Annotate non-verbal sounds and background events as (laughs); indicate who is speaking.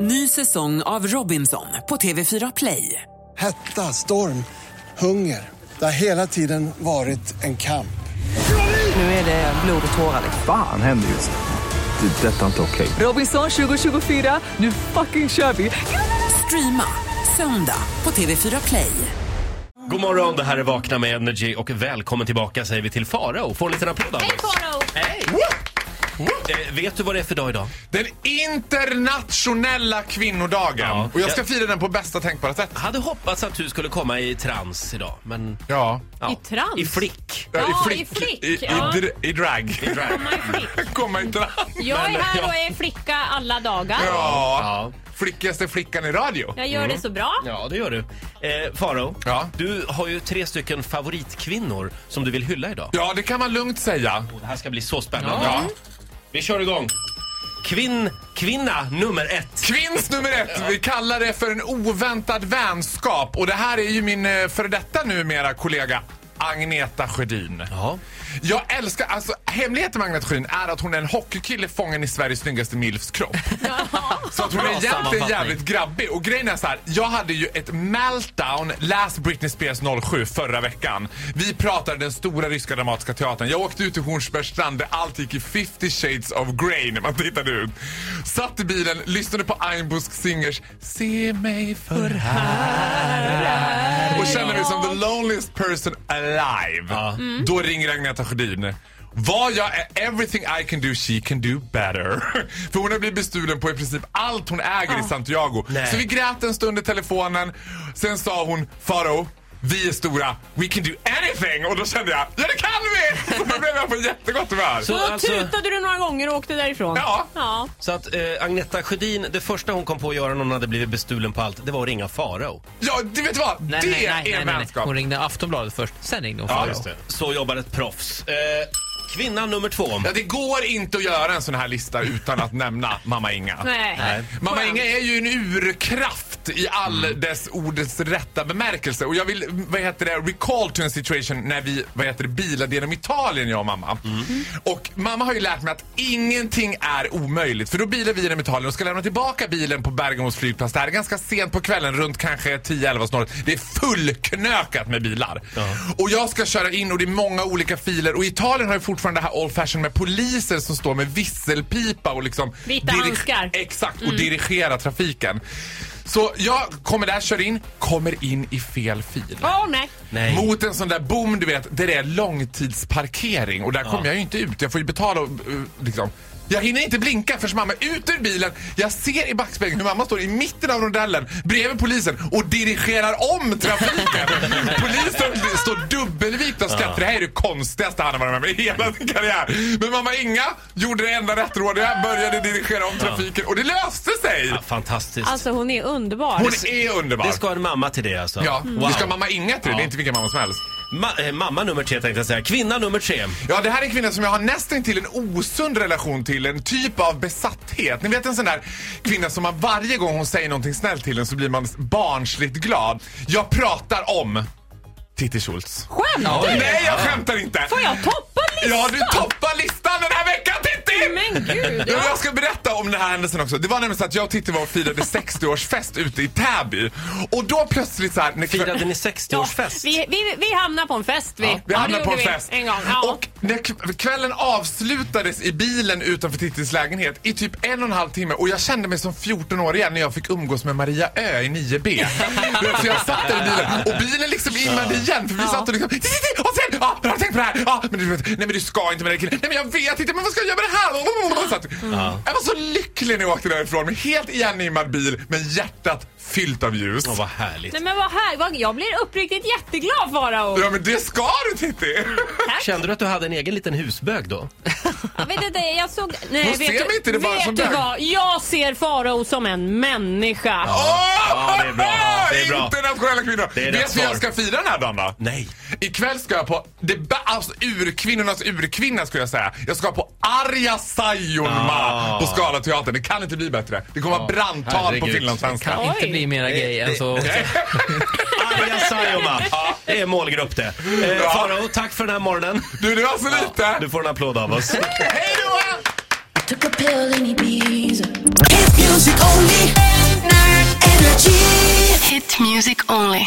Speaker 1: Ny säsong av Robinson på TV4 Play.
Speaker 2: Hetta, storm, hunger. Det har hela tiden varit en kamp.
Speaker 1: Nu är det blod och tårar.
Speaker 3: Fan händer just nu. Det. är Detta är inte okej.
Speaker 1: Robinson 2024, nu fucking kör vi! Streama söndag på TV4 Play.
Speaker 4: God morgon, det här är Vakna med Energy och välkommen tillbaka säger vi till Farao. Få en liten applåd av
Speaker 5: Hej
Speaker 4: oss.
Speaker 5: Farao!
Speaker 4: Hej! Eh, vet du vad det är för dag idag?
Speaker 6: Den internationella kvinnodagen.
Speaker 4: Ja.
Speaker 6: Och jag ska fira den på bästa tänkbara sätt.
Speaker 4: Hade hoppats att du skulle komma i trans idag, men...
Speaker 6: Ja.
Speaker 4: ja.
Speaker 5: I trans?
Speaker 4: I flick.
Speaker 5: Ja, i
Speaker 6: I, i,
Speaker 5: flick, ja.
Speaker 6: dr- i drag.
Speaker 4: Drag.
Speaker 5: Komma i flick.
Speaker 6: (laughs) Komma inte
Speaker 5: Jag
Speaker 4: Men,
Speaker 5: är här
Speaker 4: ja.
Speaker 5: och är flicka alla dagar.
Speaker 6: Ja. Mm.
Speaker 4: Ja.
Speaker 6: Flickigaste flickan i radio.
Speaker 5: Jag gör det så bra.
Speaker 4: Ja, det gör du. Eh, Farao,
Speaker 6: Ja.
Speaker 4: du har ju tre stycken favoritkvinnor som du vill hylla idag.
Speaker 6: Ja, det kan man lugnt säga.
Speaker 4: Det här ska bli så spännande.
Speaker 6: Ja.
Speaker 4: Vi kör igång. Kvinn, kvinna nummer ett.
Speaker 6: Kvinns nummer ett. Vi kallar det för en oväntad vänskap. Och det här är ju min eh, före detta numera kollega Agneta Sjödin.
Speaker 4: Ja.
Speaker 6: Jag älskar, alltså hemligheten med Agneta Sjödin är att hon är en hockeykille fången i Sveriges snyggaste milfs kropp. Så att hon
Speaker 4: Bra
Speaker 6: Alltså, är egentligen
Speaker 4: sammanfattning.
Speaker 6: jävligt grabbig. Och grejen är så här, jag hade ju ett meltdown, läs Britney Spears 07 förra veckan. Vi pratade den stora ryska dramatiska teatern. Jag åkte ut till Hornsbergs strand där allt gick i 50 shades of grey när man tittade ut. Satt i bilen, lyssnade på Einbusk Singers Se mig för här och kände mig som the loneliest person alive. Mm. Då ringer Agneta Sjödin. Vad jag är, everything I can do she can do better. (laughs) För hon har blivit bestulen på i princip allt hon äger i Santiago.
Speaker 4: Nej.
Speaker 6: Så vi grät en stund i telefonen. Sen sa hon, Faro, vi är stora, we can do anything. Och då kände jag, ja det kan vi! (laughs) Så då blev jag på jättegott humör.
Speaker 4: Så,
Speaker 5: Då tutade du några gånger och åkte därifrån.
Speaker 6: Alltså- Ja.
Speaker 5: ja.
Speaker 4: Så att eh, Agneta Sjödin, det första hon kom på att göra när hon hade blivit bestulen på allt, det var att ringa Farao.
Speaker 6: Ja, du vet vad?
Speaker 7: Nej,
Speaker 6: det
Speaker 7: nej, nej,
Speaker 6: är
Speaker 7: nej, nej, nej.
Speaker 6: vänskap.
Speaker 7: Hon ringde Aftonbladet först, sen ringde hon
Speaker 6: Ja,
Speaker 7: Farao.
Speaker 6: just det.
Speaker 4: eh, Så jobbar ett proffs. Eh, kvinna nummer två.
Speaker 6: Ja, det går inte att göra en sån här lista utan att nämna mamma Inga.
Speaker 5: Nej.
Speaker 4: Nej.
Speaker 6: Mamma Inga är ju en urkraft i all dess ordets rätta bemärkelse. Och jag vill, vad heter det, recall to en situation när vi, vad heter det, bilade genom Italien jag och mamma. Och mamma har ju lärt mig att ingenting är omöjligt. För då bilar vi genom Italien och ska lämna tillbaka bilen på Bergamos flygplats. Det här är ganska sent på kvällen, runt kanske 10-11 snart. Det är fullknökat med bilar. Och jag ska köra in och det är många olika filer. Och Italien har ju fortfarande det här old fashion med poliser som står med visselpipa och liksom...
Speaker 5: Vita
Speaker 6: dirige-
Speaker 5: handskar.
Speaker 6: Exakt, och dirigera trafiken. Så jag kommer där, kör in, kommer in i fel fil.
Speaker 5: Åh nej.
Speaker 4: Nej.
Speaker 6: Mot en sån där bom, du vet, där det är långtidsparkering. Och där kommer jag ju inte ut. Jag får ju betala och, eh, liksom. Jag hinner inte blinka förrän mamma är ute ur bilen. Jag ser i backspegeln hur mamma står i mitten av rondellen bredvid polisen och dirigerar
Speaker 4: (laughs)
Speaker 6: om trafiken. polisen står dubbelvikt och skrattar. Det här är det konstigaste han har varit med om i hela sin karriär. Men mamma Inga gjorde det enda rättrådiga, började dirigera om trafiken och det löste sig.
Speaker 4: Ja, fantastiskt.
Speaker 5: Alltså hon är underbar.
Speaker 6: Hon är underbar.
Speaker 4: det ska en mamma till det alltså.
Speaker 6: Ja,
Speaker 4: Wow.
Speaker 6: det ska mamma Inga till. Det är inte vilken mamma som helst.
Speaker 4: Ma- eh, mamma nummer tre tänkte jag säga. Kvinna nummer tre.
Speaker 6: Ja, det här är en kvinna som jag har nästan till en osund relation till. En typ av besatthet. Ni vet en sån där kvinna som man varje gång hon säger någonting snällt till en så blir man barnsligt glad. Jag pratar om Titti Schultz.
Speaker 5: Skämtar du?
Speaker 6: Nej, jag skämtar inte!
Speaker 5: Får jag toppa listan?
Speaker 6: Ja, du toppar listan den här veckan Titti!
Speaker 5: Men gud.
Speaker 6: Ja, men jag ska berätta om den här händelsen också. Det var nämligen så att jag och Titti var och firade 60-årsfest ute i Täby. Och då plötsligt så här... när- (laughs)
Speaker 4: Firade ni 60-årsfest?
Speaker 5: Vi, vi, vi hamnar på en fest vi.
Speaker 6: Ja, vi
Speaker 5: Ja,
Speaker 6: hamnade
Speaker 5: det
Speaker 6: på en
Speaker 5: gjorde vi
Speaker 6: fest.
Speaker 5: En gång. Ja.
Speaker 6: Och när k- kvällen avslutades i bilen utanför Tittis lägenhet i typ en och en halv timme och jag kände mig som 14 år igen när jag fick umgås med Maria Ö
Speaker 5: (laughs)
Speaker 6: i 9B. Du vet, så jag satt där i bilen och bilen liksom immade igen för vi satt och liksom "Titti, titti, och sen, ja, har du tänkt på det här? Ja, men du vet, nej men du ska inte med den killen. Nej men jag vet inte, men vad ska jag göra med det här? Oh, Och Så att, Jag var så lycklig när jag åkte därifrån med helt igenimmad bil men hjärtat fyllt av ljus.
Speaker 4: Åh, vad härligt.
Speaker 5: Nej men vad här, vad, jag blir uppriktigt jätteglad Farao.
Speaker 6: Ja men det ska du Titti!
Speaker 4: Kände du att du hade en egen liten husbög då?
Speaker 5: Jag vet inte, jag såg... Nej,
Speaker 6: Hon
Speaker 5: vet
Speaker 6: ser
Speaker 5: du,
Speaker 6: mig inte, det är bara
Speaker 5: vet
Speaker 6: som
Speaker 5: du
Speaker 6: där.
Speaker 5: vad? Jag ser Farao som en människa.
Speaker 4: Ja, det är bra. Ja, det är bra.
Speaker 6: Internationella kvinnor.
Speaker 4: Det är rätt
Speaker 6: Vet vi
Speaker 4: svar.
Speaker 6: jag ska fira den här dagen då?
Speaker 4: Nej.
Speaker 6: Ikväll ska jag på det ba- alltså, urkvinnornas urkvinna skulle jag säga. Jag ska på Arja Saijonmaa
Speaker 4: Ah.
Speaker 6: på Scalateatern. Det kan inte bli bättre. Det kommer vara brandtal på
Speaker 7: herregud.
Speaker 6: finlandssvenska.
Speaker 5: Det
Speaker 6: Ja.
Speaker 5: kan-
Speaker 7: Inte
Speaker 5: Oj.
Speaker 7: bli mera gay än så.
Speaker 4: Arja Saijonmaa. Det är målgrupp det. Eh,
Speaker 6: Ja.
Speaker 4: Farao, tack för den här morgonen.
Speaker 6: Du, det var så lite.
Speaker 4: Du får en applåd av oss.
Speaker 6: Hej då!
Speaker 8: Took a pill in Ibiza. Hit music only. Hit music only.